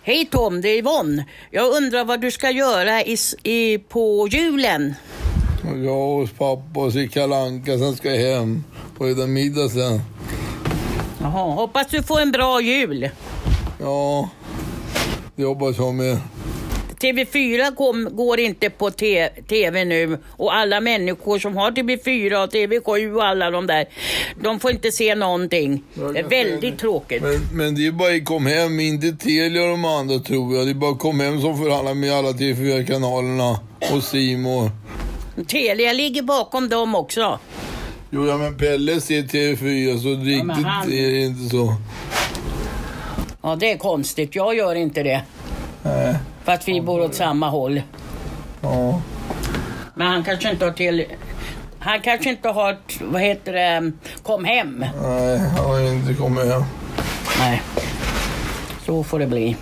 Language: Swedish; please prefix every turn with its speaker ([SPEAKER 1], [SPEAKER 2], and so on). [SPEAKER 1] Hej Tom, det är Yvonne. Jag undrar vad du ska göra i, s- i, på julen?
[SPEAKER 2] Jag hos pappa och så Kalle Anka, sen ska jag hem och äta middag sen.
[SPEAKER 1] Jaha, hoppas du får en bra jul.
[SPEAKER 2] Ja, det hoppas jag med.
[SPEAKER 1] TV4 kom, går inte på te, TV nu och alla människor som har TV4 och TV7 och alla de där, de får inte se någonting. Det är
[SPEAKER 2] Jag kan säga
[SPEAKER 1] väldigt
[SPEAKER 2] det.
[SPEAKER 1] tråkigt.
[SPEAKER 2] Men, men det är bara att kom hem, inte Telia och de andra tror jag. Det är bara att kom hem som förhandlar med alla TV4-kanalerna och Simor.
[SPEAKER 1] Telia ligger bakom dem också.
[SPEAKER 2] Jo, ja, men Pelle ser TV4 så
[SPEAKER 1] men
[SPEAKER 2] riktigt
[SPEAKER 1] han-
[SPEAKER 2] är det inte så.
[SPEAKER 1] Ja, det är konstigt. Jag gör inte det.
[SPEAKER 2] Nej,
[SPEAKER 1] Fast vi bor åt samma håll.
[SPEAKER 2] ja.
[SPEAKER 1] Men han kanske inte har till... Han kanske inte har, t- vad heter det, kom hem.
[SPEAKER 2] Nej, han har inte kommit hem.
[SPEAKER 1] Nej. Så får det bli.